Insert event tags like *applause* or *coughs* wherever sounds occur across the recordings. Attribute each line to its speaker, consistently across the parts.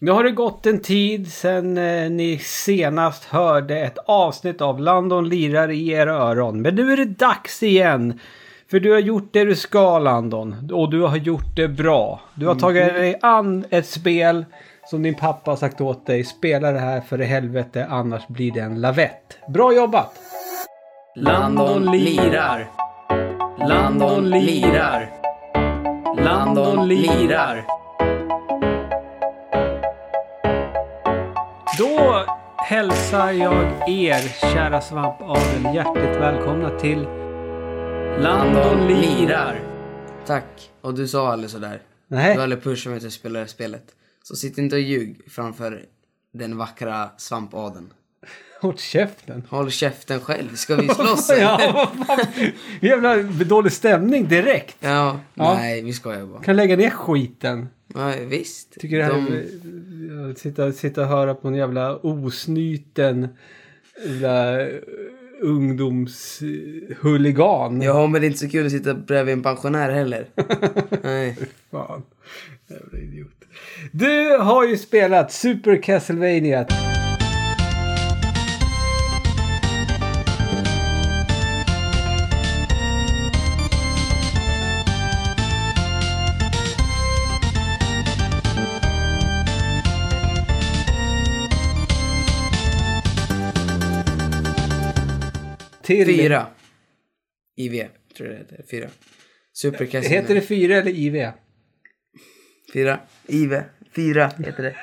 Speaker 1: Nu har det gått en tid sedan eh, ni senast hörde ett avsnitt av Landon lirar i era öron. Men nu är det dags igen! För du har gjort det du ska Landon. Och du har gjort det bra. Du har tagit dig an ett spel som din pappa har sagt åt dig. Spela det här för i helvete annars blir det en lavett. Bra jobbat!
Speaker 2: Landon lirar. Landon lirar. Landon lirar.
Speaker 1: Då hälsar jag er kära svampadel hjärtligt välkomna till...
Speaker 2: Landon lirar.
Speaker 3: Tack. Och du sa aldrig sådär.
Speaker 1: Nej.
Speaker 3: Du aldrig pushat mig till att spela det här spelet. Så sitt inte och ljug framför den vackra svampaden.
Speaker 1: Håll käften.
Speaker 3: Håll käften själv. Ska vi
Speaker 2: Alltså.
Speaker 3: slåss
Speaker 1: *laughs* Ja,
Speaker 3: eller?
Speaker 1: vad fan. Jävla dålig stämning direkt.
Speaker 3: ja.
Speaker 1: Ja.
Speaker 3: Nej, vi skojar bara.
Speaker 1: Kan lägga ner skiten.
Speaker 3: Ja, visst.
Speaker 1: Tycker det här
Speaker 3: De-
Speaker 1: är... eh, Sitta, sitta och höra på en jävla osnyten jävla eh, ungdomshuligan.
Speaker 3: Ja, men det är inte så kul att sitta bredvid en pensionär
Speaker 1: *laughs*
Speaker 3: heller. Nej.
Speaker 1: Fan. Jävla idiot. Du har ju spelat Super Castlevania. Till,
Speaker 3: Fyra. IV, tror jag det heter. Fyra. Supercasino.
Speaker 1: Heter det fyra eller IV?
Speaker 3: Fyra. IV. Fyra heter det.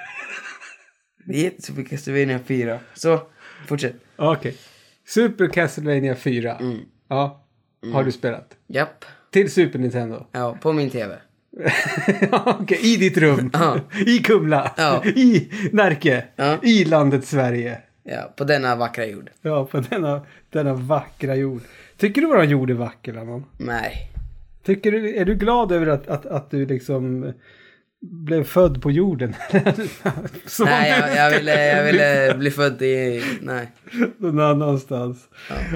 Speaker 3: Det heter Supercastlevania 4. Så, fortsätt.
Speaker 1: Okej. Super Castlevania 4.
Speaker 3: Mm.
Speaker 1: Ja. Har du spelat?
Speaker 3: Japp.
Speaker 1: Till Super Nintendo? *laughs*
Speaker 3: Ja, på min TV.
Speaker 1: Okej, i ditt rum.
Speaker 3: Ja.
Speaker 1: I Kumla.
Speaker 3: Ja.
Speaker 1: I Närke.
Speaker 3: Ja.
Speaker 1: I landet Sverige.
Speaker 3: Ja, på denna vackra jord.
Speaker 1: Ja, på denna, denna vackra jord. Tycker du våran jord är vacker, Lennon?
Speaker 3: Nej.
Speaker 1: Tycker du, är du glad över att, att, att du liksom blev född på jorden? *laughs* Som om
Speaker 3: Nej,
Speaker 1: du
Speaker 3: jag, jag,
Speaker 1: skulle
Speaker 3: ville, jag
Speaker 1: bli
Speaker 3: *laughs* ville bli född i... Nej.
Speaker 1: Någon annanstans.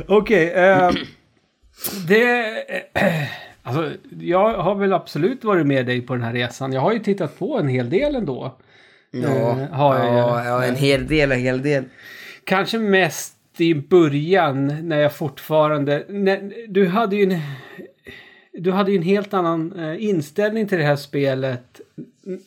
Speaker 1: Okej.
Speaker 3: *clears throat*
Speaker 1: eh, det... eh, *clears throat* alltså, jag har väl absolut varit med dig på den här resan. Jag har ju tittat på en hel del ändå.
Speaker 3: Ja,
Speaker 1: Eh, har jag ju.
Speaker 3: ja, ja, en hel del, en hel del.
Speaker 1: Kanske mest i början när jag fortfarande... När, du hade ju en... Du hade ju en helt annan eh, inställning till det här spelet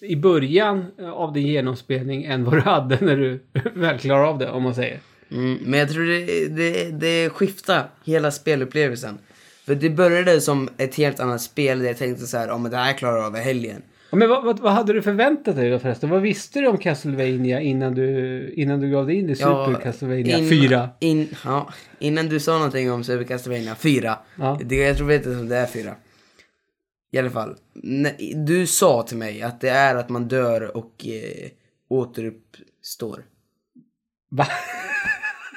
Speaker 1: i början av din genomspelning än vad du hade när du *laughs* väl klarade av det, om man säger.
Speaker 3: Mm, men jag tror det, det, det skiftar hela spelupplevelsen. För det började som ett helt annat spel där jag tänkte så här, ja men det här klarar jag av i helgen.
Speaker 1: Ja, Men vad, vad, vad hade du förväntat dig då förresten? Vad visste du om Castlevania innan du, innan du gav dig in i Super
Speaker 3: Ja,
Speaker 1: Castlevania
Speaker 3: in-
Speaker 1: 4?
Speaker 3: In, ja, innan du sa någonting om Super Castlevania 4.
Speaker 1: Ja.
Speaker 3: Det, jag tror inte om det är 4. I alla fall. Nej, Du sa till mig att det är att man dör och eh, återuppstår.
Speaker 1: Va?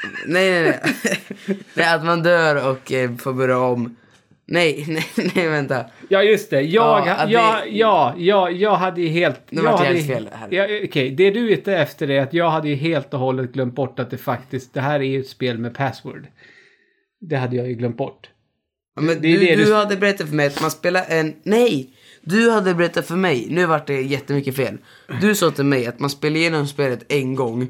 Speaker 3: Nej, nej,
Speaker 1: *laughs*
Speaker 3: nej. nej, att man dör och eh, får börja om. Nej, *laughs* nej, nej, vänta.
Speaker 1: Ja just det, jag,
Speaker 3: Ja,
Speaker 1: ja,
Speaker 3: att
Speaker 1: ja,
Speaker 3: det-
Speaker 1: ja, ja, jag hade ju helt...
Speaker 3: Nu
Speaker 1: jag
Speaker 3: vart det
Speaker 1: hade
Speaker 3: helt
Speaker 1: ju-
Speaker 3: fel här.
Speaker 1: Ja, Okej, det du är ute efter är att jag hade ju helt och hållet glömt bort att det faktiskt, det här är ju ett spel med password. Det hade jag ju glömt bort.
Speaker 3: Ja, men
Speaker 1: Det är
Speaker 3: du,
Speaker 1: det
Speaker 3: du,
Speaker 1: du-
Speaker 3: hade berättat för mig att man spelar en... Nej! Du hade berättat för mig, nu vart det jättemycket fel. Du sa till mig att man spelar igenom spelet en gång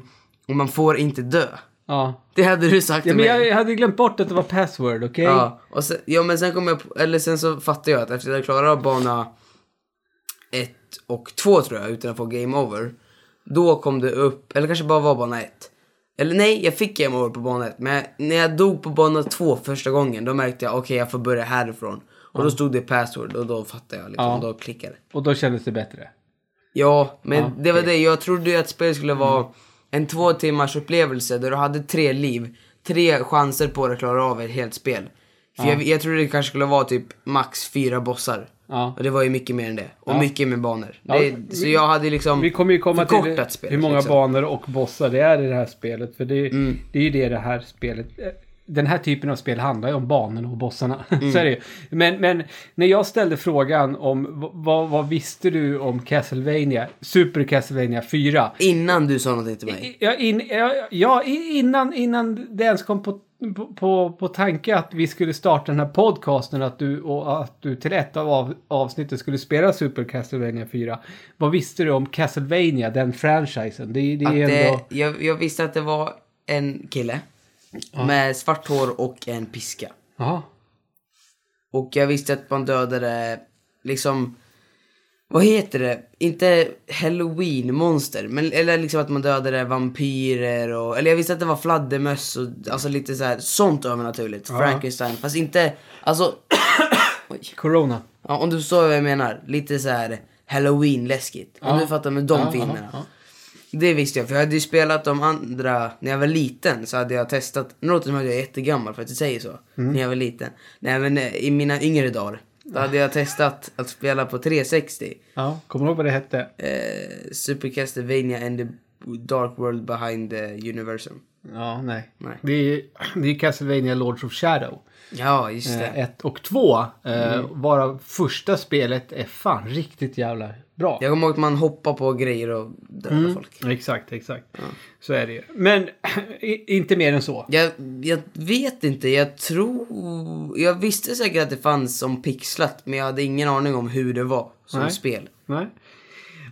Speaker 3: och man får inte dö.
Speaker 1: Ja.
Speaker 3: Det hade du sagt
Speaker 1: ja
Speaker 3: till
Speaker 1: men
Speaker 3: mig.
Speaker 1: jag hade ju glömt bort att det var password, okej?
Speaker 3: Ja, och sen, ja, men sen kom jag på, Eller sen så fattade jag att efter att jag klarade av bana ett och två tror jag utan att få game over. Då kom det upp, eller kanske bara var bana ett. Eller nej, jag fick game over på bana ett. Men jag, när jag dog på bana två första gången då märkte jag okej jag får börja härifrån. Och då stod det password och då fattade jag liksom,
Speaker 1: Ja.
Speaker 3: och då klickade det.
Speaker 1: Och då kändes det bättre.
Speaker 3: Ja, men
Speaker 1: Ja, Mm.
Speaker 3: det var det. Jag trodde ju att spelet skulle vara en två timmars upplevelse där du hade tre liv, tre chanser på dig att klara av ett helt spel. För jag, jag trodde det kanske skulle vara typ max fyra bossar.
Speaker 1: Ja.
Speaker 3: Och det var ju mycket mer än det. Och mycket med banor.
Speaker 1: Ja,
Speaker 3: det,
Speaker 1: vi-
Speaker 3: så jag hade liksom
Speaker 1: Vi kommer ju komma till
Speaker 3: förkortat spelet.
Speaker 1: hur många
Speaker 3: liksom. Mm.
Speaker 1: banor och bossar det är i det här spelet. För det, är- det är ju det det här spelet... eh, Den här typen av spel handlar ju om banorna och bossarna. *laughs* Så är det ju. Men, men när jag ställde frågan om v- vad, vad visste du om Castlevania, Super Castlevania 4?
Speaker 3: Innan du sa någonting till mig.
Speaker 1: I- Ja, in, ja, ja, i- innan, innan det ens kom på på, på, på tanke att vi skulle starta den här podcasten att du, och att du till ett av av avsnitten skulle spela Super Castlevania 4. Vad visste du om Castlevania, den franchisen? Det, det
Speaker 3: Att
Speaker 1: är
Speaker 3: det,
Speaker 1: ändå...
Speaker 3: jag, jag visste att det var en kille med svart hår och en piska.
Speaker 1: Ja.
Speaker 3: Och jag visste att man dödade, liksom, vad heter det? Inte halloween-monster, men eller liksom att man dödade vampyrer och, eller jag visste att det var fladdermöss och alltså lite så här, sånt övernaturligt. Frankenstein, fast inte, alltså, *coughs*
Speaker 1: Corona.
Speaker 3: ja, om du förstår vad jag menar, lite så här halloween-läskigt. Om du fattar med de filmerna. Det visste jag, för jag hade ju spelat de andra när jag var liten så hade jag testat, nu låter det som att jag är jättegammal för att jag säger så,
Speaker 1: Mm.
Speaker 3: när jag var liten. Nej men eh, i mina yngre dagar, då hade jag testat att spela på 360.
Speaker 1: Ja, kommer du ihåg vad det hette?
Speaker 3: Eh, Super Castlevania and the Dark World Behind the Universum.
Speaker 1: Ja, nej.
Speaker 3: Nej.
Speaker 1: Det är det är Castlevania Lords of Shadow.
Speaker 3: Ja, just det. Mm.
Speaker 1: Eh, ett och två. Eh, Varav första spelet är fan riktigt jävla bra.
Speaker 3: Jag kommer ihåg att man hoppar på grejer och dödar
Speaker 1: Mm.
Speaker 3: folk.
Speaker 1: Exakt, exakt. Så är det ju. Men *clears throat* i- inte mer än så.
Speaker 3: Jag, jag vet inte, jag tror... Jag visste säkert att det fanns som pixlat men jag hade ingen aning om hur det var som
Speaker 1: Nej.
Speaker 3: spel.
Speaker 1: Nej.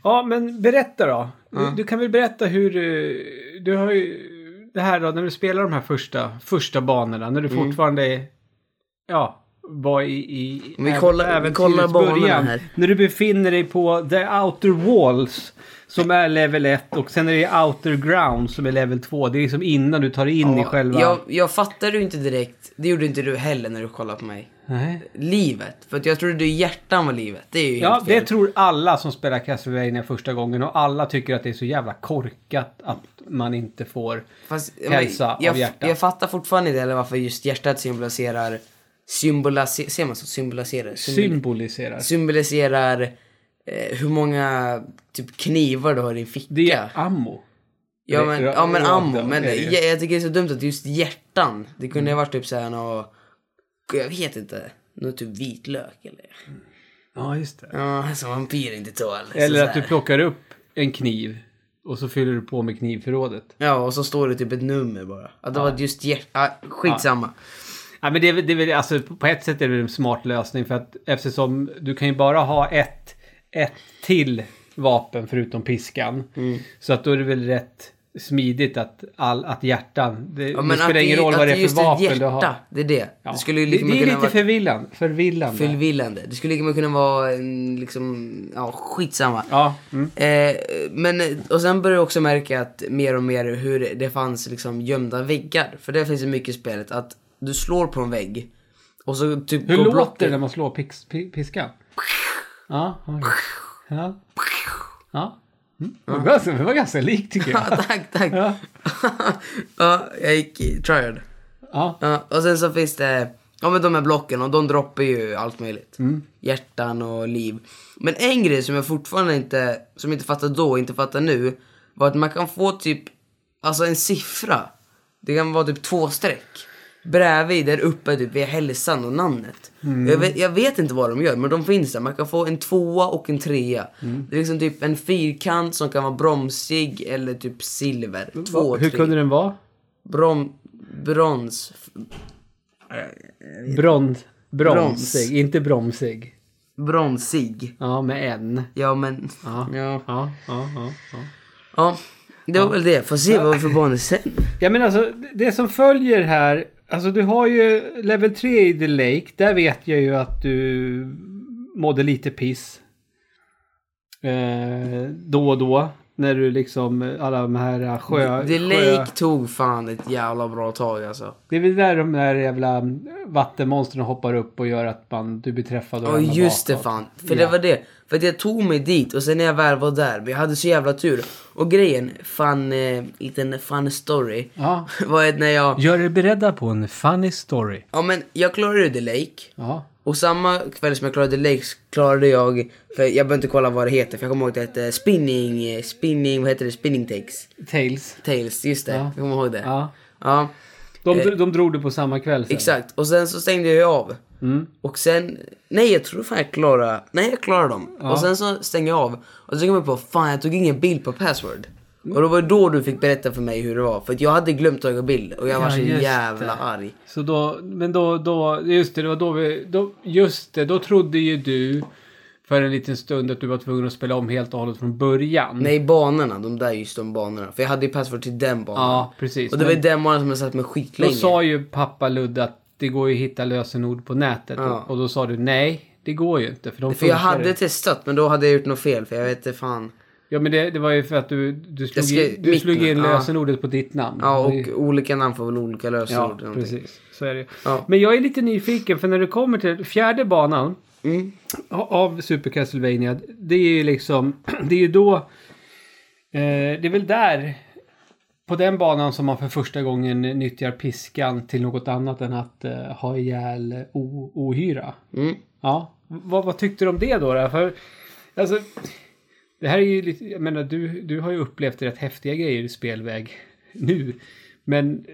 Speaker 1: Ja, men berätta då. Du, du kan väl berätta hur eh, du har ju det här då när du spelar de här första, första banorna när du
Speaker 3: Mm.
Speaker 1: fortfarande är, ja, var i, i
Speaker 3: Om vi
Speaker 1: äv-
Speaker 3: kollar- vi
Speaker 1: äventyrets
Speaker 3: kollar banorna här.
Speaker 1: När du befinner dig på the outer walls som är level 1 och sen är det outer ground som är level 2. Det är liksom innan du tar dig in i själva...
Speaker 3: Jag, jag fattade ju inte direkt, det gjorde inte du heller när du kollade på mig.
Speaker 1: Nej.
Speaker 3: Livet, för att jag trodde hjärtan var livet. Det är ju
Speaker 1: Ja,
Speaker 3: helt
Speaker 1: det
Speaker 3: fel.
Speaker 1: tror alla som spelar Castlevania första gången och alla tycker att det är så jävla korkat att man inte får
Speaker 3: Fast,
Speaker 1: hälsa
Speaker 3: jag,
Speaker 1: av hjärtat.
Speaker 3: Jag fattar fortfarande inte heller varför just hjärtat symboliserar... Symboliserar, ser man så? Symboliserar? Symbol-
Speaker 1: symboliserar.
Speaker 3: symboliserar eh, hur många typ knivar du har i din ficka.
Speaker 1: Det är ammo.
Speaker 3: Ja men, ja, men
Speaker 1: Rakt
Speaker 3: ammo.
Speaker 1: av
Speaker 3: Men
Speaker 1: är det ju. Mm.
Speaker 3: jag, jag tycker det är så dumt att just hjärtan. Det kunde ju ha varit typ såhär nå... Jag vet inte. Något typ vitlök eller?
Speaker 1: Ja, just det.
Speaker 3: Ja, som vampyr inte tål. Så
Speaker 1: Eller att
Speaker 3: såhär.
Speaker 1: du plockar upp en kniv och så fyller du på med knivförrådet.
Speaker 3: Ja, och så står det typ ett nummer bara. Att det var just hjärt... Ah, skitsamma.
Speaker 1: Ja, men det är, väl- det är väl, alltså, på ett sätt är det en smart lösning för att eftersom du kan ju bara ha ett, ett till vapen förutom piskan. Så att då är det väl rätt smidigt att, all, att hjärtan, det,
Speaker 3: Ja,
Speaker 1: det spelar ingen roll vad det är för vapen
Speaker 3: hjärta,
Speaker 1: du har.
Speaker 3: Det är det.
Speaker 1: Ja.
Speaker 3: Det skulle ju
Speaker 1: det,
Speaker 3: lika
Speaker 1: det är
Speaker 3: mycket
Speaker 1: lite
Speaker 3: kunna vara
Speaker 1: förvillan, förvillande.
Speaker 3: förvillande. Det skulle lika mycket kunna vara en, liksom... Ja, skitsamma.
Speaker 1: Ja, mm.
Speaker 3: Eh, men, och sen börjar jag också märka att mer och mer hur det fanns liksom gömda väggar. För det finns ju mycket i spelet att du slår på en vägg och så typ
Speaker 1: Hur
Speaker 3: går
Speaker 1: låter
Speaker 3: blocket-
Speaker 1: det när man slår pix, pi- piskan? Ja, okej. ja. ja. Mm. Det, var ganska, det var ganska likt tycker
Speaker 3: *laughs* *laughs* Ja,
Speaker 1: jag.
Speaker 3: tack, tack.
Speaker 1: Ja.
Speaker 3: Ja. jag gick i triad.
Speaker 1: Ja,
Speaker 3: Ja, och sen så finns det, ja men de här blocken och de droppar ju allt möjligt.
Speaker 1: Mm.
Speaker 3: Hjärtan och liv. Men en grej som jag fortfarande inte, som jag inte fattar då och inte fattar nu, var att man kan få typ, alltså en siffra. Det kan vara typ två streck. Bredvid där uppe typ vid hälsan och namnet.
Speaker 1: Mm.
Speaker 3: Jag, vet, jag vet inte vad de gör men de finns där. Man kan få en tvåa och en trea.
Speaker 1: Mm.
Speaker 3: Det är liksom typ en fyrkant som kan vara bromsig eller typ silver. Två,
Speaker 1: Hur
Speaker 3: tre.
Speaker 1: kunde den vara?
Speaker 3: Brom, brons,
Speaker 1: Brons. Bromsig,
Speaker 3: Brons.
Speaker 1: inte bromsig.
Speaker 3: bronsig.
Speaker 1: Ja, med en.
Speaker 3: Ja men,
Speaker 1: Ja.
Speaker 3: ja. Ja,
Speaker 1: Ja, ja, ja. ja.
Speaker 3: det var väl det. Får se vad vi får banor sen.
Speaker 1: Ja, men alltså det som följer här. Alltså du har ju level 3 i The Lake. Där vet jag ju att du mådde lite piss. Eh, då och då. När du liksom alla de här sjö...
Speaker 3: The
Speaker 1: sjö-
Speaker 3: Lake tog fan ett jävla bra tag alltså.
Speaker 1: Det är väl där de där jävla vattenmonstren hoppar upp och gör att man, du blir träffad och
Speaker 3: Ja
Speaker 1: ramlar
Speaker 3: just det
Speaker 1: bakåt.
Speaker 3: fan. För
Speaker 1: Ja.
Speaker 3: det var det. För att jag tog mig dit och sen när jag väl var där, men jag hade så jävla tur. Och grejen, fan, eh, liten fun story. *laughs*
Speaker 1: Ja.
Speaker 3: Var att när jag,
Speaker 1: Gör er beredda på en funny story.
Speaker 3: ja men jag klarade The Lake.
Speaker 1: Ja.
Speaker 3: Och samma kväll som jag klarade Lakes klarade jag, för jag behöver inte kolla vad det heter för jag kommer ihåg att det hette spinning, eh, spinning, vad heter det, spinning takes?
Speaker 1: Tails.
Speaker 3: Tails, just det. Jag kommer ihåg det.
Speaker 1: Ja.
Speaker 3: Ja, Eh.
Speaker 1: De, de drog det på samma kväll sen.
Speaker 3: exakt. Och sen så stängde jag ju av.
Speaker 1: Mm.
Speaker 3: Och sen, nej jag tror fan jag klarade, nej jag klarade dem. Och sen så stängde jag av. Och så kom jag på, fan jag tog ingen bild på password. Och det var då du fick berätta för mig hur det var. För att jag hade glömt att ta bild och jag var
Speaker 1: Ja,
Speaker 3: så
Speaker 1: just
Speaker 3: jävla
Speaker 1: det.
Speaker 3: arg.
Speaker 1: Så då, men då, då, just det, det var då vi, då, just det, då trodde ju du för en liten stund att du var tvungen att spela om helt och hållet från början.
Speaker 3: Nej, banorna. De där just de banorna. För jag hade ju password till den banan.
Speaker 1: Ja, precis.
Speaker 3: Och det var ju
Speaker 1: Men
Speaker 3: den banan som jag satt med
Speaker 1: då
Speaker 3: skitlänge.
Speaker 1: sa ju pappa Ludde att det går ju att hitta lösenord på nätet.
Speaker 3: Ja.
Speaker 1: Och, och då sa du nej, det går ju inte. För, de
Speaker 3: För
Speaker 1: funkar
Speaker 3: jag hade
Speaker 1: inte.
Speaker 3: testat men då hade jag gjort något fel för jag vet inte fan.
Speaker 1: Ja, men det, det var ju för att du, du slog,
Speaker 3: skrev
Speaker 1: in, du
Speaker 3: mitt
Speaker 1: slog in
Speaker 3: namn, ja.
Speaker 1: lösenordet på ditt namn.
Speaker 3: Ja och
Speaker 1: Det-
Speaker 3: olika namn får väl olika
Speaker 1: Mm. Ja,
Speaker 3: lösenord. eller någonting.
Speaker 1: precis. Så är det ju.
Speaker 3: Ja.
Speaker 1: Men jag är lite nyfiken för när det kommer till fjärde banan
Speaker 3: Mm.
Speaker 1: av Super Castlevania. Det är ju liksom, *clears throat* det är ju då, eh, det är väl där, på den banan som man för första gången nyttjar piskan till något annat än att eh, ha ihjäl o- ohyra.
Speaker 3: Mm.
Speaker 1: Ja, vad, vad tyckte du om det då? då? För, alltså, det här är ju lite, jag menar du, du har ju upplevt rätt häftiga grejer i spelväg nu. Men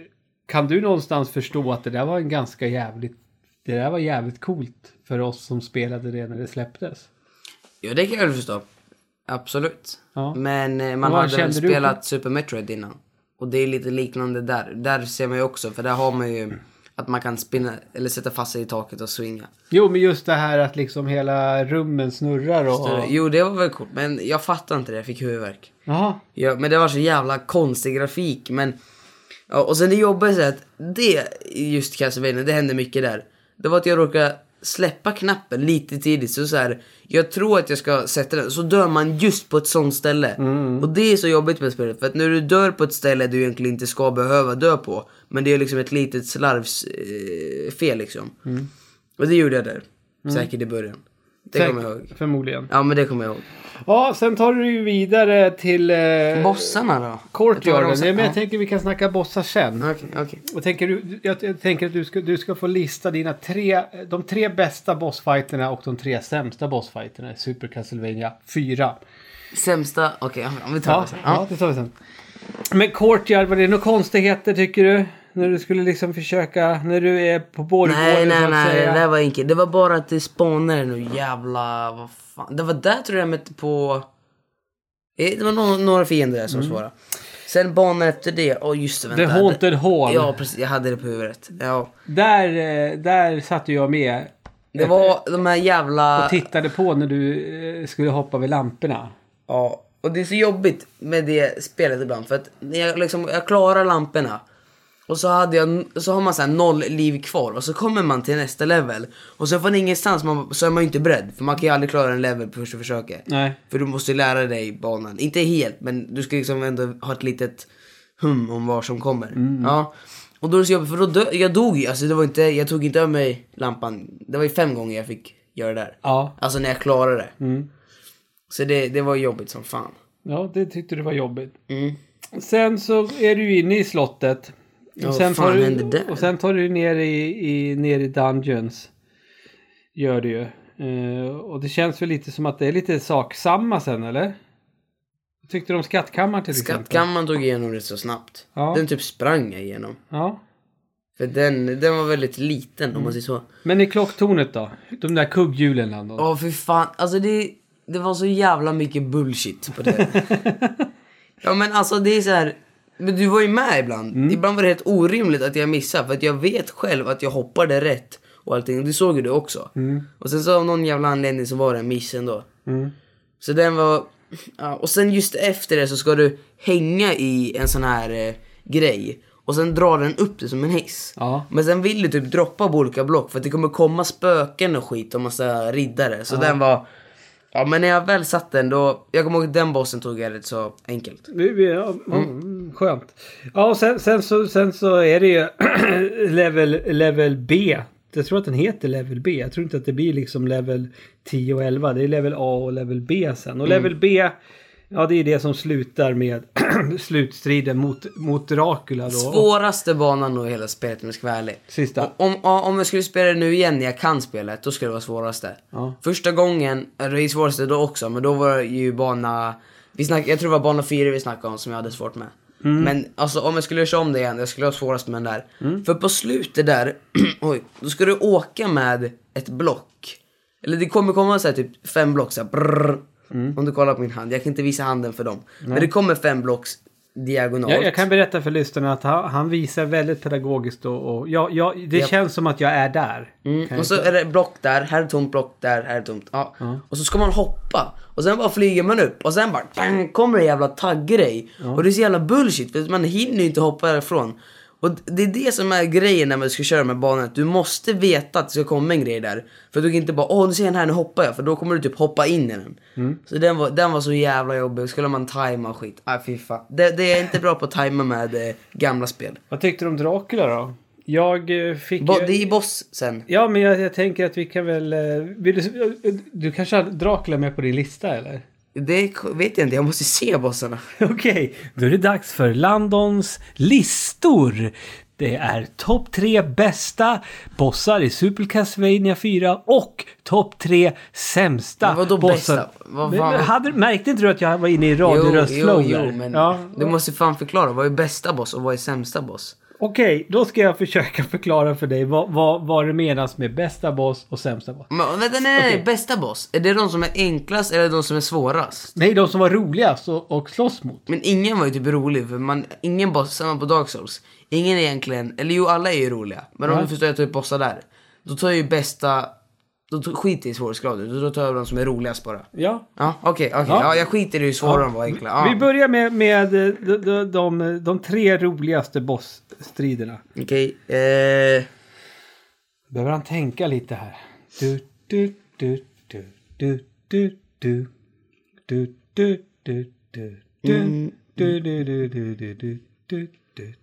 Speaker 1: kan du någonstans förstå att det där var en ganska jävligt, det där var jävligt coolt för oss som spelade det när det släpptes?
Speaker 3: Ja det kan jag väl förstå. Absolut.
Speaker 1: Ja.
Speaker 3: Men eh, man
Speaker 1: Vad
Speaker 3: hade väl
Speaker 1: kände du
Speaker 3: spelat Super Metroid innan. Och det är lite liknande där. Där ser man ju också för där har man ju att man kan spinna eller sätta fast sig i taket och swinga.
Speaker 1: Jo, men just det här att liksom hela rummen snurrar och...
Speaker 3: Jo det var väl coolt men jag fattar inte det, jag fick huvudvärk.
Speaker 1: Jaha.
Speaker 3: Ja, men det var så jävla konstig grafik. Men, ja, och sen det jobbiga är så att det, just Castlevania, det hände mycket där. Det var att jag råkade släppa knappen lite tidigt. Så, så här, jag tror att jag ska sätta den, så dör man just på ett sånt ställe. Och det är så jobbigt med spelet, för att när du dör på ett ställe du egentligen inte ska behöva dö på. Men det är liksom ett litet slarvsfel eh, fel liksom. Och det gjorde jag där. Säkert i början. Det kommer jag ihåg.
Speaker 1: Förmodligen.
Speaker 3: Ja men det kommer jag ihåg.
Speaker 1: Ja, sen tar du ju vidare till... Eh,
Speaker 3: Bossarna då?
Speaker 1: Courtyarden.
Speaker 3: Jag tar
Speaker 1: Nej,
Speaker 3: dem
Speaker 1: men jag
Speaker 3: sen.
Speaker 1: tänker vi kan snacka bossar sen.
Speaker 3: Ja, Okej, okej.
Speaker 1: Jag tänker, du, jag, jag tänker att du ska, du ska få lista dina tre, de tre bästa bossfighterna och de tre sämsta bossfighterna i Super Castlevania 4.
Speaker 3: Sämsta, okej om vi tar
Speaker 1: Ja,
Speaker 3: det sen.
Speaker 1: ja, det tar vi sen. Men Courtyard, var det några konstigheter tycker du? När du skulle liksom försöka, när du är på borggården
Speaker 3: Nej,
Speaker 1: så
Speaker 3: nej,
Speaker 1: att
Speaker 3: nej,
Speaker 1: säga.
Speaker 3: det där var inte. Det var bara att det spånade nu jävla, vad fan. Det var där tror jag jag mötte på, Eh, det var några, några fiender där som var svåra. Sen banan efter det, åh just det,
Speaker 1: Mm. The
Speaker 3: vänta.
Speaker 1: Haunted Hall.
Speaker 3: Ja precis, jag hade det på huvudet. Ja.
Speaker 1: Där, eh, där satt ju jag med
Speaker 3: Det var de här jävla...
Speaker 1: och tittade på när du eh, skulle hoppa vid lamporna.
Speaker 3: Ja, och det är så jobbigt med det spelet ibland för att när jag, liksom, jag klarar lamporna och så, hade jag, så har man så här noll liv kvar och så kommer man till nästa level och så från ingenstans man, så är man ju inte beredd för man kan ju aldrig klara en level på första försöket.
Speaker 1: Nej.
Speaker 3: För du måste ju lära dig banan, inte helt men du ska liksom ändå ha ett litet hum om vad som kommer. Ja. Och då är det så jobbigt för då dö, jag dog ju, alltså det var inte, jag tog inte av mig lampan. Det var ju fem gånger jag fick göra det där.
Speaker 1: Ja.
Speaker 3: Alltså när jag klarade det.
Speaker 1: Mm.
Speaker 3: Så det, det var jobbigt som fan.
Speaker 1: ja, det tyckte du var jobbigt.
Speaker 3: Mm.
Speaker 1: Sen så är du ju inne i slottet.
Speaker 3: Ja,
Speaker 1: Och sen,
Speaker 3: fan
Speaker 1: tar
Speaker 3: hände
Speaker 1: du,
Speaker 3: där?
Speaker 1: och sen tar du ner i, i, ner i Dungeons. Gör du ju. Eh, och det känns väl lite som att det är lite saksamma sen eller? Vad Tyckte du om skattkammaren till exempel?
Speaker 3: Skattkammaren tog igenom det så snabbt.
Speaker 1: Ja.
Speaker 3: Den typ sprang jag igenom.
Speaker 1: Ja.
Speaker 3: För den, den var väldigt liten
Speaker 1: Mm.
Speaker 3: om man säger så.
Speaker 1: Men i klocktornet då? De där kugghjulen Landon.
Speaker 3: Ja för fan, alltså det, det var så jävla mycket bullshit
Speaker 1: *laughs*
Speaker 3: på det. ja men alltså det är så här. Men du var ju med ibland.
Speaker 1: Mm.
Speaker 3: Ibland var det helt orimligt att jag missade för att jag vet själv att jag hoppade rätt och allting. Det såg ju du också. Och sen så av någon jävla anledning så var det en miss ändå.
Speaker 1: Mm.
Speaker 3: Så den var... Ja, och sen just efter det så ska du hänga i en sån här eh, grej. Och sen drar den upp dig som en hiss.
Speaker 1: Ja.
Speaker 3: Men sen vill du typ droppa på olika block för att det kommer komma spöken och skit och massa riddare. Så den var... Ja men när jag väl satt den då... Jag kommer ihåg att den bossen tog jag rätt så enkelt.
Speaker 1: Nu är vi- ja, mm. Skönt. Ja, och sen, sen, så, sen så är det ju *clears throat* level, level B. Jag tror att den heter level B. Jag tror inte att det blir liksom level 10 och 11. Det är level A och level B sen. Och level B, ja det är det som slutar med *clears throat* slutstriden mot, mot Dracula då.
Speaker 3: Svåraste banan nog i hela spelet om jag ska vara ärlig.
Speaker 1: Sista.
Speaker 3: Och Om, ja, om jag skulle spela det nu igen när jag kan spelet, då skulle det vara svåraste.
Speaker 1: Ja.
Speaker 3: Första gången, eller det är svåraste då också, men då var det ju bana... Vi snack, jag tror det var bana 4 vi snackade om som jag hade svårt med.
Speaker 1: Mm.
Speaker 3: Men alltså om jag skulle köra om det igen, jag skulle ha svårast med den där.
Speaker 1: Mm.
Speaker 3: För på slutet där, *clears throat* oj, då ska du åka med ett block. Eller det kommer komma så här typ fem block så här, brrr,
Speaker 1: Mm.
Speaker 3: Om du kollar på min hand. Jag kan inte visa handen för dem. Men det kommer fem blocks diagonalt.
Speaker 1: Jag, jag kan berätta för lyssnarna att han, han visar väldigt pedagogiskt och, och ja, ja, det
Speaker 3: Japp.
Speaker 1: känns som att jag är där.
Speaker 3: Mm. Och så är det block där, här är tomt, block där, här är tomt. Ja. Och så ska man hoppa. Och sen bara flyger man upp och sen bara bang, kommer det jävla taggrej. Och det är så jävla bullshit för att man hinner ju inte hoppa därifrån. Och det är det som är grejen när man ska köra med banan. att Du måste veta att det ska komma en grej där. För du kan inte bara åh nu ser jag den här, nu hoppar jag. För då kommer du typ hoppa in i den. Så den var, den var så jävla jobbig. Skulle man tajma och skit. Ah, fy fan. Det, det är inte bra på att tajma med eh, gamla spel.
Speaker 1: Vad tyckte du om Dracula då? Jag eh, fick
Speaker 3: Bo,
Speaker 1: ju...
Speaker 3: det är ju boss sen.
Speaker 1: Ja, men jag, jag tänker att vi kan väl... eh, Vill du, du kanske har Dracula med på din lista eller?
Speaker 3: Det vet jag inte, jag måste se bossarna.
Speaker 1: *laughs* Okej, då är det dags för Landons listor. Det är topp tre bästa bossar i Super Castlevania 4 och topp tre sämsta
Speaker 3: Men vadå
Speaker 1: bossar.
Speaker 3: bästa? Vad
Speaker 1: Men-
Speaker 3: fan?
Speaker 1: men hade, märkte inte du att jag var inne i
Speaker 3: jo,
Speaker 1: radioröstflow
Speaker 3: jo,
Speaker 1: där?
Speaker 3: men
Speaker 1: ja.
Speaker 3: du måste fan förklara. Vad är bästa boss och vad är sämsta boss?
Speaker 1: Okej, då ska jag försöka förklara för dig vad, vad, vad det menas med bästa boss och sämsta boss.
Speaker 3: Men, vänta, nej, nej,
Speaker 1: Okej.
Speaker 3: bästa boss. Är det de som är enklast eller de som är svårast?
Speaker 1: Nej, de som var roligast och, och slåss mot.
Speaker 3: Men ingen var ju typ rolig, för man, ingen boss, samma på Dark Souls. Ingen är egentligen, eller jo alla är ju roliga. Men om
Speaker 1: Ja.
Speaker 3: du förstår jag typ bossar där. Då tar jag ju bästa, då tar- skiter jag i svårighetsgraden. Då- Då tar jag de som är roligast bara.
Speaker 1: Ja,
Speaker 3: Ja, okej, okej.
Speaker 1: Ja.
Speaker 3: Ja. jag skiter i hur svåra de var enkla. Ja.
Speaker 1: Vi börjar med, med eh, de, de, de, de tre roligaste bossstriderna.
Speaker 3: Okej, eh...
Speaker 1: Behöver han tänka lite här. Du, du, du, du, du, du, du. Du, du, du, du,
Speaker 3: Mm.
Speaker 1: du. Du, du, du, du, du, du, du, du,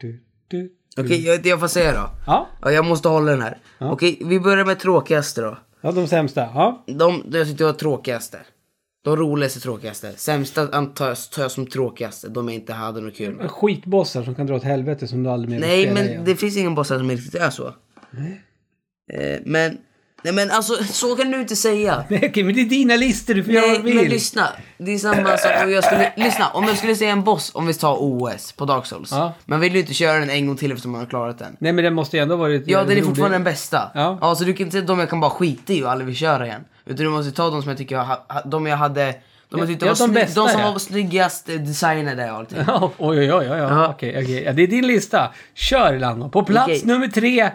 Speaker 1: du, du.
Speaker 3: Okej, jag, jag får säga då.
Speaker 1: Ja,
Speaker 3: Ja, jag måste hålla den här. Okej, vi börjar med tråkigaste då.
Speaker 1: ja, de sämsta. Ja.
Speaker 3: De, de jag tyckte var tråkigaste. De roligaste tråkigaste. Sämsta antar jag, tar jag som tråkigaste. De jag inte hade något
Speaker 1: Mm.
Speaker 3: kul med.
Speaker 1: Skitbossar som kan dra åt helvete som du aldrig mer vill
Speaker 3: Nej
Speaker 1: spela
Speaker 3: men
Speaker 1: igen.
Speaker 3: det finns ingen bossar som riktigt är så. Eh, men, nej men alltså så kan du inte säga.
Speaker 1: Nej, *laughs* okej, men det är dina listor, du får göra
Speaker 3: Nej
Speaker 1: vad du
Speaker 3: men
Speaker 1: vill.
Speaker 3: lyssna. Det är samma som om jag skulle, lyssna om jag skulle säga en boss om vi tar OS på Dark Souls.
Speaker 1: Ja.
Speaker 3: Man vill ju inte köra den en gång till eftersom man har klarat den.
Speaker 1: Nej, men den måste ju ändå ha varit...
Speaker 3: Ja, den är
Speaker 1: rolig.
Speaker 3: fortfarande den bästa.
Speaker 1: Ja.
Speaker 3: Ja. så du kan inte säga att de jag kan bara skita i och aldrig vill köra igen. Utan du måste ta de som jag tycker jag, ha- ha- de jag hade, de jag tyckte
Speaker 1: ja,
Speaker 3: var
Speaker 1: de
Speaker 3: snygg,
Speaker 1: bästa,
Speaker 3: de som
Speaker 1: ja.
Speaker 3: var snyggast eh, designade och
Speaker 1: *laughs*
Speaker 3: allting.
Speaker 1: Ja, oj, oj, oj, oj, oj.
Speaker 3: Ja.
Speaker 1: Okej, okej. Ja, det är din lista. Kör Lando. På plats
Speaker 3: Okej.
Speaker 1: nummer tre,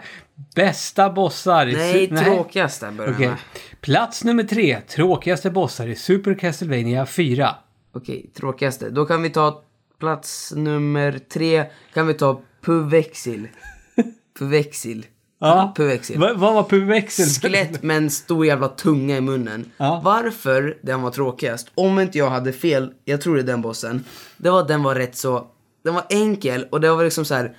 Speaker 1: bästa bossar. i
Speaker 3: Nej,
Speaker 1: su-
Speaker 3: tråkigast där börjar
Speaker 1: Okej.
Speaker 3: med.
Speaker 1: Plats nummer tre, tråkigaste bossar i Super Castlevania 4.
Speaker 3: Okej, tråkigaste. Då kan vi ta plats nummer tre, kan vi ta
Speaker 1: *laughs*
Speaker 3: Puvexil. Puvexil.
Speaker 1: Ja.
Speaker 3: Puvexil.
Speaker 1: Va- vad var Puvexel?
Speaker 3: *laughs* Skelett med en stor jävla tunga i munnen.
Speaker 1: Ja.
Speaker 3: Varför den var tråkigast, om inte jag hade fel, jag tror det är den bossen, det var att den var rätt så, den var enkel och det var liksom så här.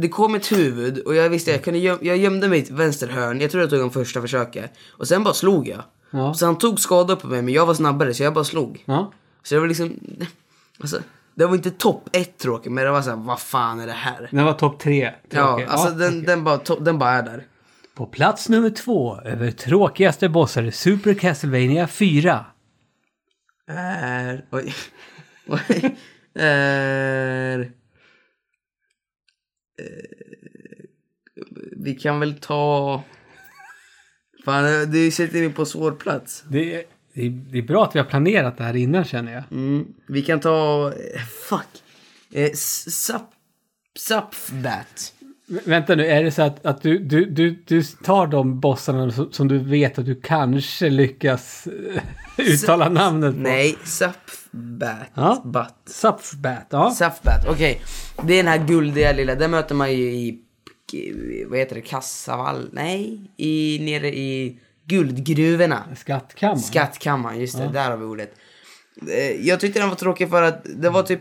Speaker 3: Det kom ett huvud och jag visste jag kunde göm, jag gömde mig i ett vänsterhörn, jag tror jag tog den första försöket. Och sen bara slog jag.
Speaker 1: Ja.
Speaker 3: Så han tog skada på mig men jag var snabbare så jag bara slog.
Speaker 1: Ja.
Speaker 3: Så det var liksom, alltså, det var inte topp ett tråkigt men det var så här, vad fan är det här?
Speaker 1: Den var topp tre.
Speaker 3: Ja,
Speaker 1: Tråkig.
Speaker 3: alltså den, den, bara, to- den bara är där.
Speaker 1: På plats nummer två, över tråkigaste bossar i Super Castlevania 4.
Speaker 3: Är... Oj. *laughs* Oj. Är... eh, Vi kan väl ta... Fan, du sätter mig på svår plats.
Speaker 1: Det är, det är- det är bra att vi har planerat det här innan känner jag.
Speaker 3: Mm. Vi kan ta... eh, Fuck. Eh, s- sap... Sapfbat.
Speaker 1: V- Vänta nu, är det så att, att du, du, du, du tar de bossarna som, som du vet att du kanske lyckas eh, *laughs* uttala namnet på?
Speaker 3: Nej, sapfbat.
Speaker 1: Ja.
Speaker 3: Bat.
Speaker 1: Sapfbat, ja.
Speaker 3: Sapfbat, okej. Det är den här guldiga lilla, den möter man ju i, vad heter det, Kassavall? Nej, i, nere i guldgruvorna.
Speaker 1: Skattkammaren.
Speaker 3: Skattkammaren, just det, där har vi ordet. Eh, Jag tyckte den var tråkig för att det var typ,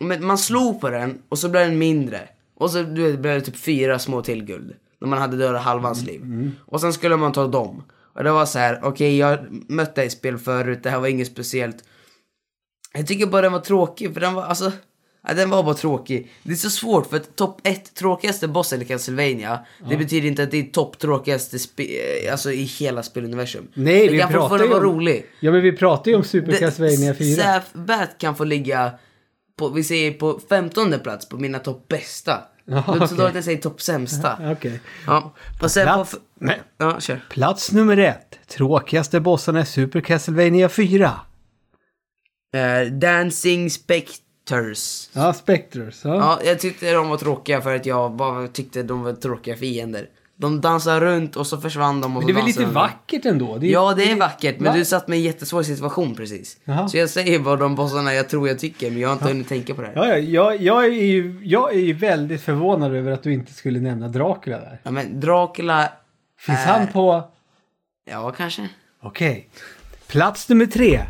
Speaker 3: men man slog på den och så blev den mindre. Och så du vet, blev det typ fyra små till guld. När man hade dödat halvans liv. Och sen skulle man ta dem. Och det var så här, okej jag mötte dig i spel förut, det här var inget speciellt. Jag tycker bara den var tråkig för den var alltså Ja, den var bara tråkig. Det är så svårt för att topp 1 tråkigaste bossen i Castlevania Det betyder inte att det är topp tråkigaste spe- alltså i hela speluniversum.
Speaker 1: Nej,
Speaker 3: det
Speaker 1: vi
Speaker 3: kan
Speaker 1: pratar
Speaker 3: fortfarande
Speaker 1: ju
Speaker 3: vara
Speaker 1: om...
Speaker 3: rolig.
Speaker 1: Ja, men vi pratar ju om Super
Speaker 3: Det-
Speaker 1: Castlevania 4.
Speaker 3: Säfbat kan få ligga på, vi säger på 15 plats på mina topp bästa.
Speaker 1: *laughs* Ja,
Speaker 3: Så då
Speaker 1: okej. *laughs*
Speaker 3: att jag säger topp sämsta.
Speaker 1: Okej.
Speaker 3: Ja, och sen på...
Speaker 1: Plats, nej.
Speaker 3: Ja, kör.
Speaker 1: Plats nummer ett. tråkigaste bossarna i Super Castlevania 4?
Speaker 3: Eh, Dancing Specters.
Speaker 1: Ja, Spectres. Ja.
Speaker 3: Ja, jag tyckte de var tråkiga för att jag bara tyckte de var tråkiga fiender. De dansar runt och så försvann de och
Speaker 1: Men
Speaker 3: så
Speaker 1: det är väl
Speaker 3: dansar
Speaker 1: lite
Speaker 3: de.
Speaker 1: vackert ändå? Det är-
Speaker 3: Ja, det är vackert, men
Speaker 1: Va?
Speaker 3: du satt mig i en jättesvår situation precis.
Speaker 1: Jaha.
Speaker 3: Så jag säger bara de bossarna jag tror jag tycker, men jag har inte hunnit tänka på det här.
Speaker 1: Ja, ja, jag, jag, är ju, jag är ju väldigt förvånad över att du inte skulle nämna Dracula där.
Speaker 3: Ja, men Dracula...
Speaker 1: Finns
Speaker 3: Äh.
Speaker 1: han på...
Speaker 3: Ja, kanske.
Speaker 1: Okej. Plats nummer tre.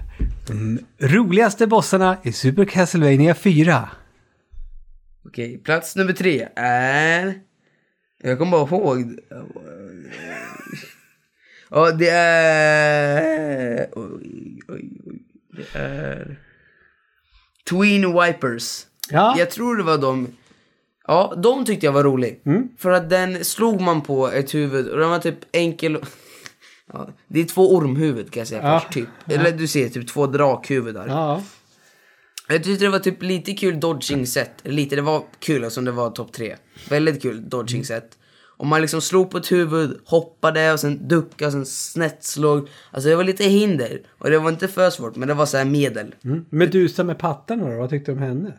Speaker 1: De roligaste bossarna i Super Castlevania 4.
Speaker 3: Okej, plats nummer tre är... Jag kommer bara ihåg... Ja, det är... Oj, oj, oj. Det är... Tween Wipers.
Speaker 1: Ja.
Speaker 3: Jag tror det var de... Ja, de tyckte jag var rolig.
Speaker 1: Mm.
Speaker 3: För att den slog man på ett huvud och den var typ enkel... Ja, det är två ormhuvud kan jag säga
Speaker 1: Ja.
Speaker 3: först, typ. Eller du ser typ två drakhuvudar.
Speaker 1: Ja.
Speaker 3: Jag tyckte det var typ lite kul
Speaker 1: Mm.
Speaker 3: dodging set. Lite, det var kul som det var topp tre. Väldigt kul
Speaker 1: Mm.
Speaker 3: dodging set. Och man liksom slog på ett huvud, hoppade och sen duckade och sen snett slog. Alltså det var lite hinder. Och det var inte för svårt men det var så här medel.
Speaker 1: Mm. Medusa med pattarna då? Vad tyckte du om henne?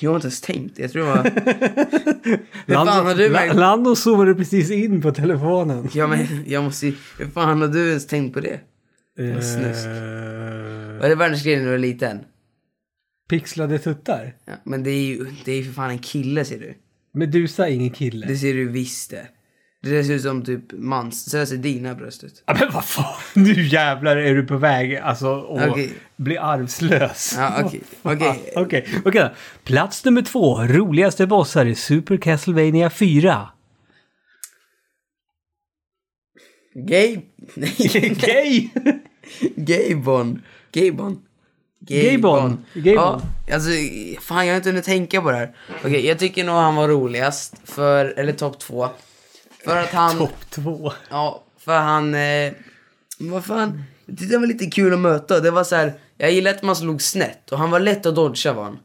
Speaker 3: Jag har inte ens tänkt. Jag tror det var...
Speaker 1: *laughs*
Speaker 3: Hur fan har du
Speaker 1: La-
Speaker 3: verkligen...
Speaker 1: Lando zoomade precis in på telefonen.
Speaker 3: Ja men jag måste ju... Hur fan har du ens tänkt på det?
Speaker 1: Eh,
Speaker 3: snusk. Var det världens grej när du var liten?
Speaker 1: Pixlade tuttar.
Speaker 3: Ja, men det är ju det är ju för fan en kille ser du.
Speaker 1: Medusa är ingen kille.
Speaker 3: Det ser du visst det. Det där ser ut som typ mans... Så där ser dina bröst ut.
Speaker 1: Ja, men vad fan, *laughs* nu jävlar är du på väg alltså att
Speaker 3: Okej.
Speaker 1: bli arvslös.
Speaker 3: Ja, okej.
Speaker 1: Vad fan.
Speaker 3: Okej.
Speaker 1: Ah, Okej, okej. då. Plats nummer två, roligaste bossar i Super Castlevania *laughs* 4.
Speaker 3: Gay... *laughs*
Speaker 1: *laughs*
Speaker 3: Nej.
Speaker 1: Gay!
Speaker 3: Gaybon. Gaybon.
Speaker 1: Gaybon.
Speaker 3: Ja,
Speaker 1: Gaybon.
Speaker 3: alltså fan jag har inte hunnit tänka på det här. Okej, jag tycker nog han var roligast för, eller topp två. För att han,
Speaker 1: Topp två.
Speaker 3: ja, för han, eh, vad fan. Jag tyckte han var lite kul att möta. Det var så här, jag gillade att man slog snett och han var lätt att dodga var han.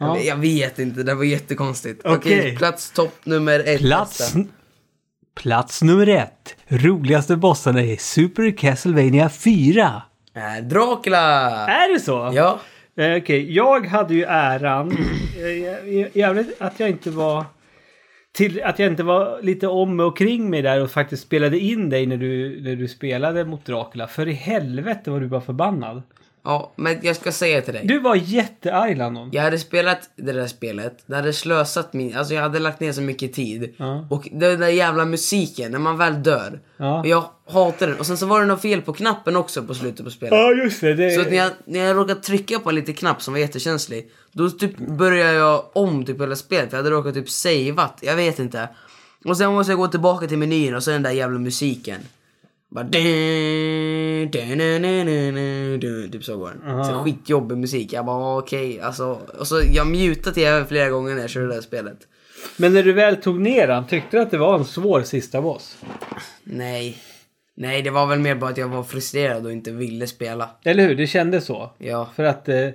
Speaker 1: Ja.
Speaker 3: Jag vet inte, det var jättekonstigt.
Speaker 1: Okej.
Speaker 3: Okej, plats topp nummer ett.
Speaker 1: Plats,
Speaker 3: nästa.
Speaker 1: plats nummer ett, roligaste bossarna i Super Castlevania 4.
Speaker 3: Eh, Dracula!
Speaker 1: Är det så?
Speaker 3: Ja.
Speaker 1: Eh, Okej, jag hade ju äran *clears throat* eh, jä- jävligt att jag inte var till, att jag inte var lite om och kring mig där och faktiskt spelade in dig när du, när du spelade mot Dracula. För i helvete var du bara förbannad.
Speaker 3: Ja, men jag ska säga till dig.
Speaker 1: Du var jättearg Landon.
Speaker 3: Jag hade spelat det där spelet, det hade slösat min, alltså jag hade lagt ner så mycket tid.
Speaker 1: Ja.
Speaker 3: Och den där jävla musiken, när man väl dör.
Speaker 1: Ja.
Speaker 3: Och jag hatar den. Och sen så var det något fel på knappen också på slutet på spelet.
Speaker 1: Ja just det. det
Speaker 3: Så att när jag, när jag råkade trycka på en liten knapp som var jättekänslig, då typ började jag om typ hela spelet. Jag hade råkat typ saveat, jag vet inte. Och sen måste jag gå tillbaka till menyn och så den där jävla musiken. Bara... dun, dun, dun, dun, dun, dun, dun, Typ så går den. Så skitjobbig musik. Jag bara okej, alltså. Och så jag mutade tv flera gånger när jag körde det där spelet.
Speaker 1: Men när du väl tog ner han, tyckte du att det var en svår sista boss?
Speaker 3: Nej. Nej, det var väl mer bara att jag var frustrerad och inte ville spela.
Speaker 1: Eller hur? Det kändes så.
Speaker 3: Ja.
Speaker 1: För att... Eh,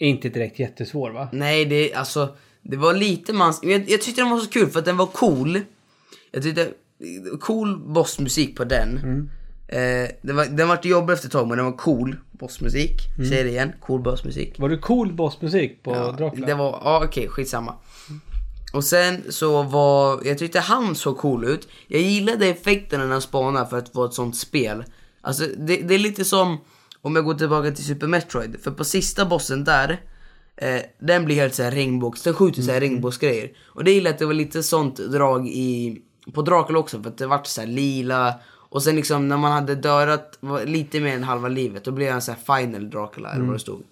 Speaker 1: inte direkt jättesvår va?
Speaker 3: Nej, det alltså det var lite mans... Jag, jag tyckte den var så kul för att den var cool. Jag tyckte cool bossmusik på den. Eh, det var, den vart jobbig efter ett tag men den var cool bossmusik. Säger det igen, cool bossmusik.
Speaker 1: Var det cool bossmusik på Dracula?
Speaker 3: det var, ja okej skitsamma. Och sen så var, jag tyckte han såg cool ut. Jag gillade effekterna när han spanar för att vara ett sånt spel. Alltså det, det är lite som om jag går tillbaka till Super Metroid. För på sista bossen där, eh, den blir helt såhär regnbågs, den skjuter såhär
Speaker 1: Mm.
Speaker 3: regnbågsgrejer. Och det gillade att det var lite sånt drag i, på Dracula också för att det vart såhär lila. Och sen liksom när man hade dödat var- lite mer än halva livet då blev han såhär final Dracula
Speaker 1: Mm.
Speaker 3: eller vad det stod.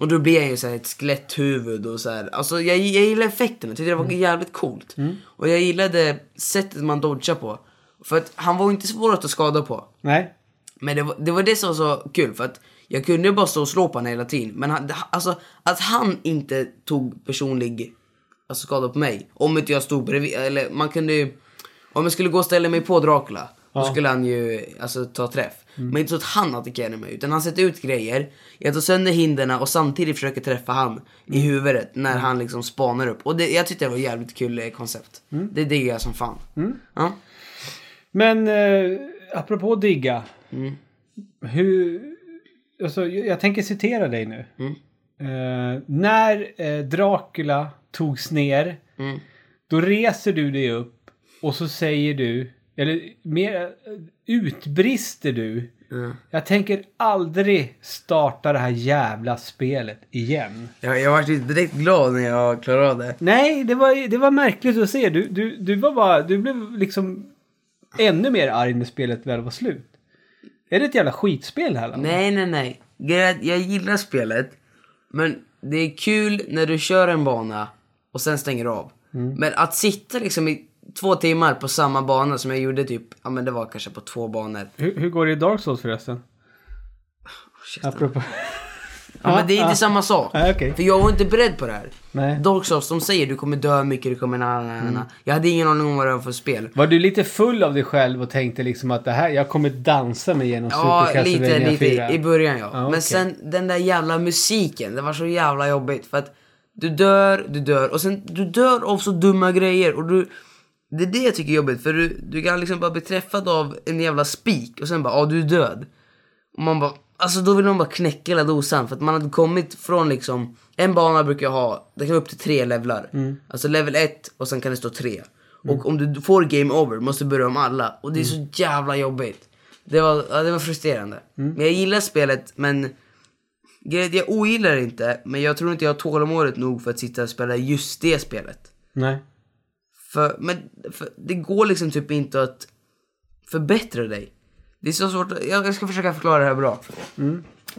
Speaker 3: Och då blir han ju såhär ett skeletthuvud och såhär. Alltså jag, jag gillar effekterna, jag tyckte det var jävligt coolt. Och jag gillade sättet man dodgar på. För att han var ju inte svårast att skada på.
Speaker 1: Nej.
Speaker 3: Men det var, det var det som var så kul för att jag kunde ju bara stå och slå på honom hela tiden. Men han, alltså, att han inte tog personlig alltså, skada på mig. Om inte jag stod bredvid. Eller man kunde ju. Om jag skulle gå och ställa mig på Dracula. Då skulle han ju alltså, ta träff. Men inte så att han attackerade mig. Utan han sätter ut grejer. Jag tar sönder hinderna och samtidigt försöker träffa han i huvudet. När han liksom spanar upp. Och det, jag tyckte det var ett jävligt kul eh, koncept. Det diggar jag som fan. Ja.
Speaker 1: Men eh, apropå digga.
Speaker 3: Mm.
Speaker 1: Hur... Alltså, jag jag tänker citera dig nu.
Speaker 3: Mm.
Speaker 1: Eh, när eh, Dracula togs ner,
Speaker 3: Mm.
Speaker 1: då reser du dig upp och så säger du, eller mer eh, utbrister du.
Speaker 3: Ja.
Speaker 1: Jag tänker aldrig starta det här jävla spelet igen.
Speaker 3: Jag, jag var direkt glad när jag klarade av det.
Speaker 1: Nej, det var, det var märkligt att se. Du, du, du var bara, du blev liksom ännu mer arg när spelet väl var slut. Är det ett jävla skitspel här? Lasse?
Speaker 3: Nej, nej, nej. Grejen är att Jag gillar spelet, men det är kul när du kör en bana och sen stänger du av.
Speaker 1: Mm.
Speaker 3: Men att sitta liksom i två timmar på samma bana som jag gjorde typ, ja men det var kanske på två banor.
Speaker 1: Hur, hur går det i Dark Souls förresten?
Speaker 3: shit. *laughs*
Speaker 1: Apropå...
Speaker 3: Ja, men det är inte samma sak.
Speaker 1: Nej, okej.
Speaker 3: För jag var inte beredd på det här.
Speaker 1: Nej. Mm.
Speaker 3: Dark Souls, de säger du kommer dö mycket, du kommer na, na, na, na. Jag hade ingen aning om vad det var för spel.
Speaker 1: Var du lite full av dig själv och tänkte liksom att det här, jag kommer dansa mig genom
Speaker 3: Ja,
Speaker 1: Super
Speaker 3: lite,
Speaker 1: Castlevania
Speaker 3: lite
Speaker 1: 4?
Speaker 3: i, i början ja.
Speaker 1: Ja, okej.
Speaker 3: Men sen den där jävla musiken, det var så jävla jobbigt för att du dör, du dör och sen du dör av så dumma grejer och du det är det jag tycker är jobbigt för du, du kan liksom bara bli träffad av en jävla spik och sen bara ja ah, du är död. Och man bara alltså då vill man bara knäcka hela dosan för att man hade kommit från liksom en bana brukar jag ha, det kan vara upp till tre levlar. Alltså level 1 och sen kan det stå 3. Och om du får game over måste du börja om alla och det är så jävla jobbigt. Det var, ja, det var frustrerande. Men jag gillar spelet men grejen är att jag ogillar det inte men jag tror inte jag har tålamodet nog för att sitta och spela just det spelet.
Speaker 1: Nej.
Speaker 3: För, men, för det går liksom typ inte att förbättra dig. Det är så svårt, att- jag jag ska försöka förklara det här bra.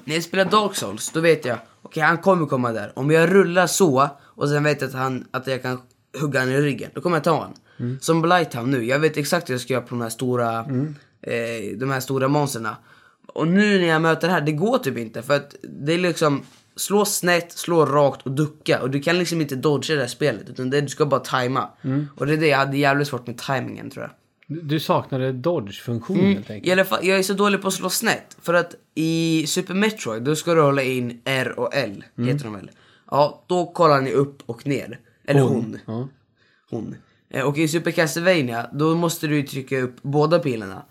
Speaker 3: När jag spelar Dark Souls, då vet jag, okej han kommer komma där. Om jag rullar så och sen vet jag att, han, att jag kan hugga han i ryggen, då kommer jag ta honom. Som Blighthound nu, jag vet exakt hur jag ska göra på de här stora, eh, de här stora monsterna. Och nu när jag möter det här, det går typ inte för att det är liksom slå snett, slå rakt och ducka. Och du kan liksom inte dodga det här spelet utan det, du ska bara tajma. Och det är det jag hade jävligt svårt med tajmingen tror jag.
Speaker 1: Du du saknade dodge-funktionen helt enkelt.
Speaker 3: I alla fall, jag är så dålig på att slå snett. För att i Super Metroid, då ska du hålla in R och L,
Speaker 1: Mm.
Speaker 3: heter de väl? Ja, då kollar ni upp och ner. Eller hon. Hon.
Speaker 1: Ja.
Speaker 3: Eh, Och i Super Castlevania, då måste du ju trycka upp båda pilarna.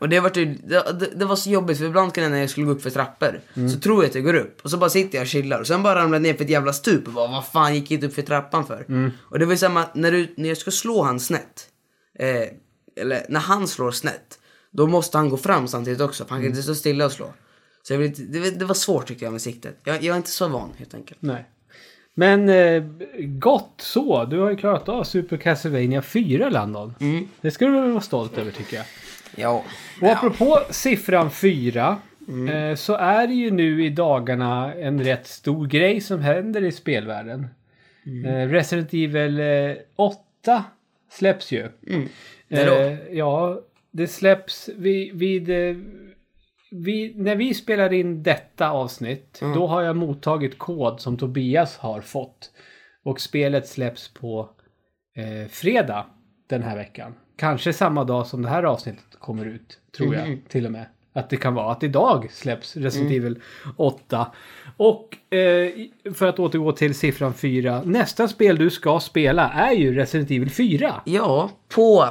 Speaker 3: Och det, har varit, ju- det, det- det var så jobbigt för ibland kan jag när jag skulle gå upp för trappor så tror jag att jag går upp och så bara sitter jag och chillar och sen bara ramlar jag ner för ett jävla stup och bara vad fan gick jag inte upp för trappan för? Och det var ju samma när, du, när jag ska slå han snett, eh, eller när han slår snett, då måste han gå fram samtidigt också för han kan inte stå stilla och slå. Så jag vill inte, det, det var svårt tycker jag med siktet. Jag, jag är inte så van helt enkelt.
Speaker 1: Nej. Men eh, gott så. Du har ju klarat av Super Castlevania 4, Landon.
Speaker 3: Mm.
Speaker 1: Det ska du väl vara stolt över tycker jag.
Speaker 3: Ja.
Speaker 1: Och apropå siffran 4. Eh, så är det ju nu i dagarna en rätt stor grej som händer i spelvärlden. Eh, Resident Evil eh, 8 släpps ju.
Speaker 3: När då?
Speaker 1: Eh, ja, det släpps vid... vid eh, vi, när vi spelar in detta avsnitt, då har jag mottagit kod som Tobias har fått. Och spelet släpps på eh, fredag den här veckan. Kanske samma dag som det här avsnittet kommer ut, tror
Speaker 3: Mm.
Speaker 1: jag till och med. Att det kan vara att idag släpps Resident Evil 8. Och eh, i- för att återgå till siffran 4. Nästa spel du ska spela är ju Resident Evil 4.
Speaker 3: Ja, på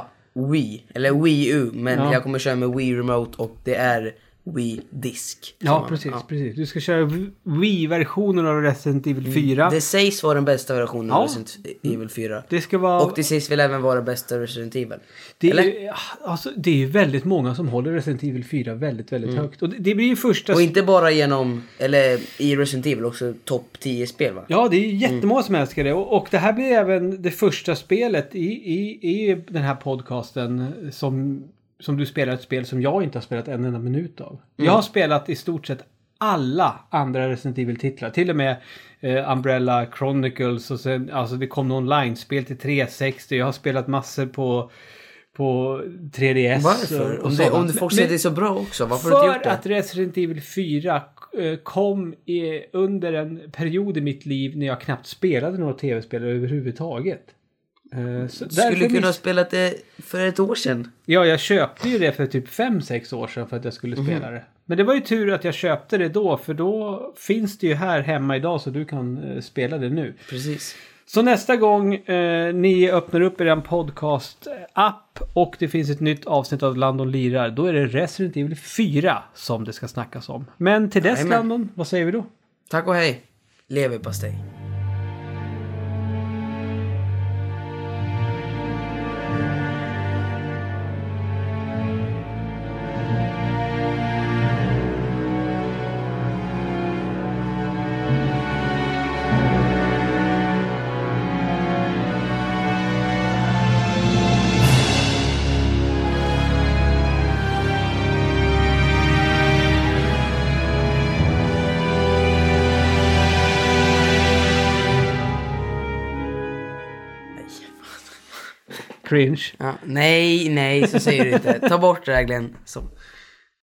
Speaker 3: Wii, eller Wii U, men
Speaker 1: Ja.
Speaker 3: jag kommer köra med Wii Remote och det är Wii Disk. som
Speaker 1: Ja,
Speaker 3: man-
Speaker 1: precis, precis. Du ska köra V- Wii-versionen av Resident Evil 4.
Speaker 3: Mm. Det sägs vara den bästa versionen av
Speaker 1: Ja.
Speaker 3: Resident Evil 4.
Speaker 1: Det ska vara...
Speaker 3: Och det sägs väl även vara bästa Resident Evil.
Speaker 1: Det är,
Speaker 3: Eller?
Speaker 1: ju, alltså, det är ju väldigt många som håller Resident Evil 4 väldigt, väldigt högt. Och det, det blir ju första...
Speaker 3: Mm. Och inte bara genom, eller i Resident Evil också topp 10 spel va?
Speaker 1: Ja, det är ju jättemånga
Speaker 3: Mm.
Speaker 1: som älskar det. Och, och det här blir även det första spelet i, i, i den här podcasten som, som du spelar ett spel som jag inte har spelat en enda minut av. Jag
Speaker 3: Mm.
Speaker 1: har spelat i stort sett alla andra Resident Evil-titlar. Till och med eh, Umbrella Chronicles och sen, alltså det kom online-spel till 360. Jag har spelat massor på, på 3DS.
Speaker 3: Varför?
Speaker 1: och
Speaker 3: Om, det,
Speaker 1: sådant.
Speaker 3: om du folk säger
Speaker 1: Men-
Speaker 3: att det är så bra också, varför har du inte
Speaker 1: för
Speaker 3: gjort det?
Speaker 1: att Resident Evil 4 eh, kom i, under en period i mitt liv när jag knappt spelade några tv-spel överhuvudtaget. Eh, Så
Speaker 3: Du skulle
Speaker 1: därför
Speaker 3: kunna ha
Speaker 1: miss-
Speaker 3: spelat det för ett år sedan. Mhm.
Speaker 1: Ja, jag köpte ju det för typ 5-6 år sedan för att jag skulle spela det. Men det var ju tur att jag köpte det då för då finns det ju här hemma idag så du kan eh, spela det nu.
Speaker 3: Precis.
Speaker 1: Så nästa gång eh, ni öppnar upp er podcast-app och det finns ett nytt avsnitt av Landon lirar, då är det Resident Evil 4 som det ska snackas om. Men till dess
Speaker 3: Jajamän.
Speaker 1: Landon, vad säger vi då?
Speaker 3: Tack och hej. Leverpastej.
Speaker 1: Cringe.
Speaker 3: Ja, nej, nej, så säger du inte. Ta bort det där Glenn. Så.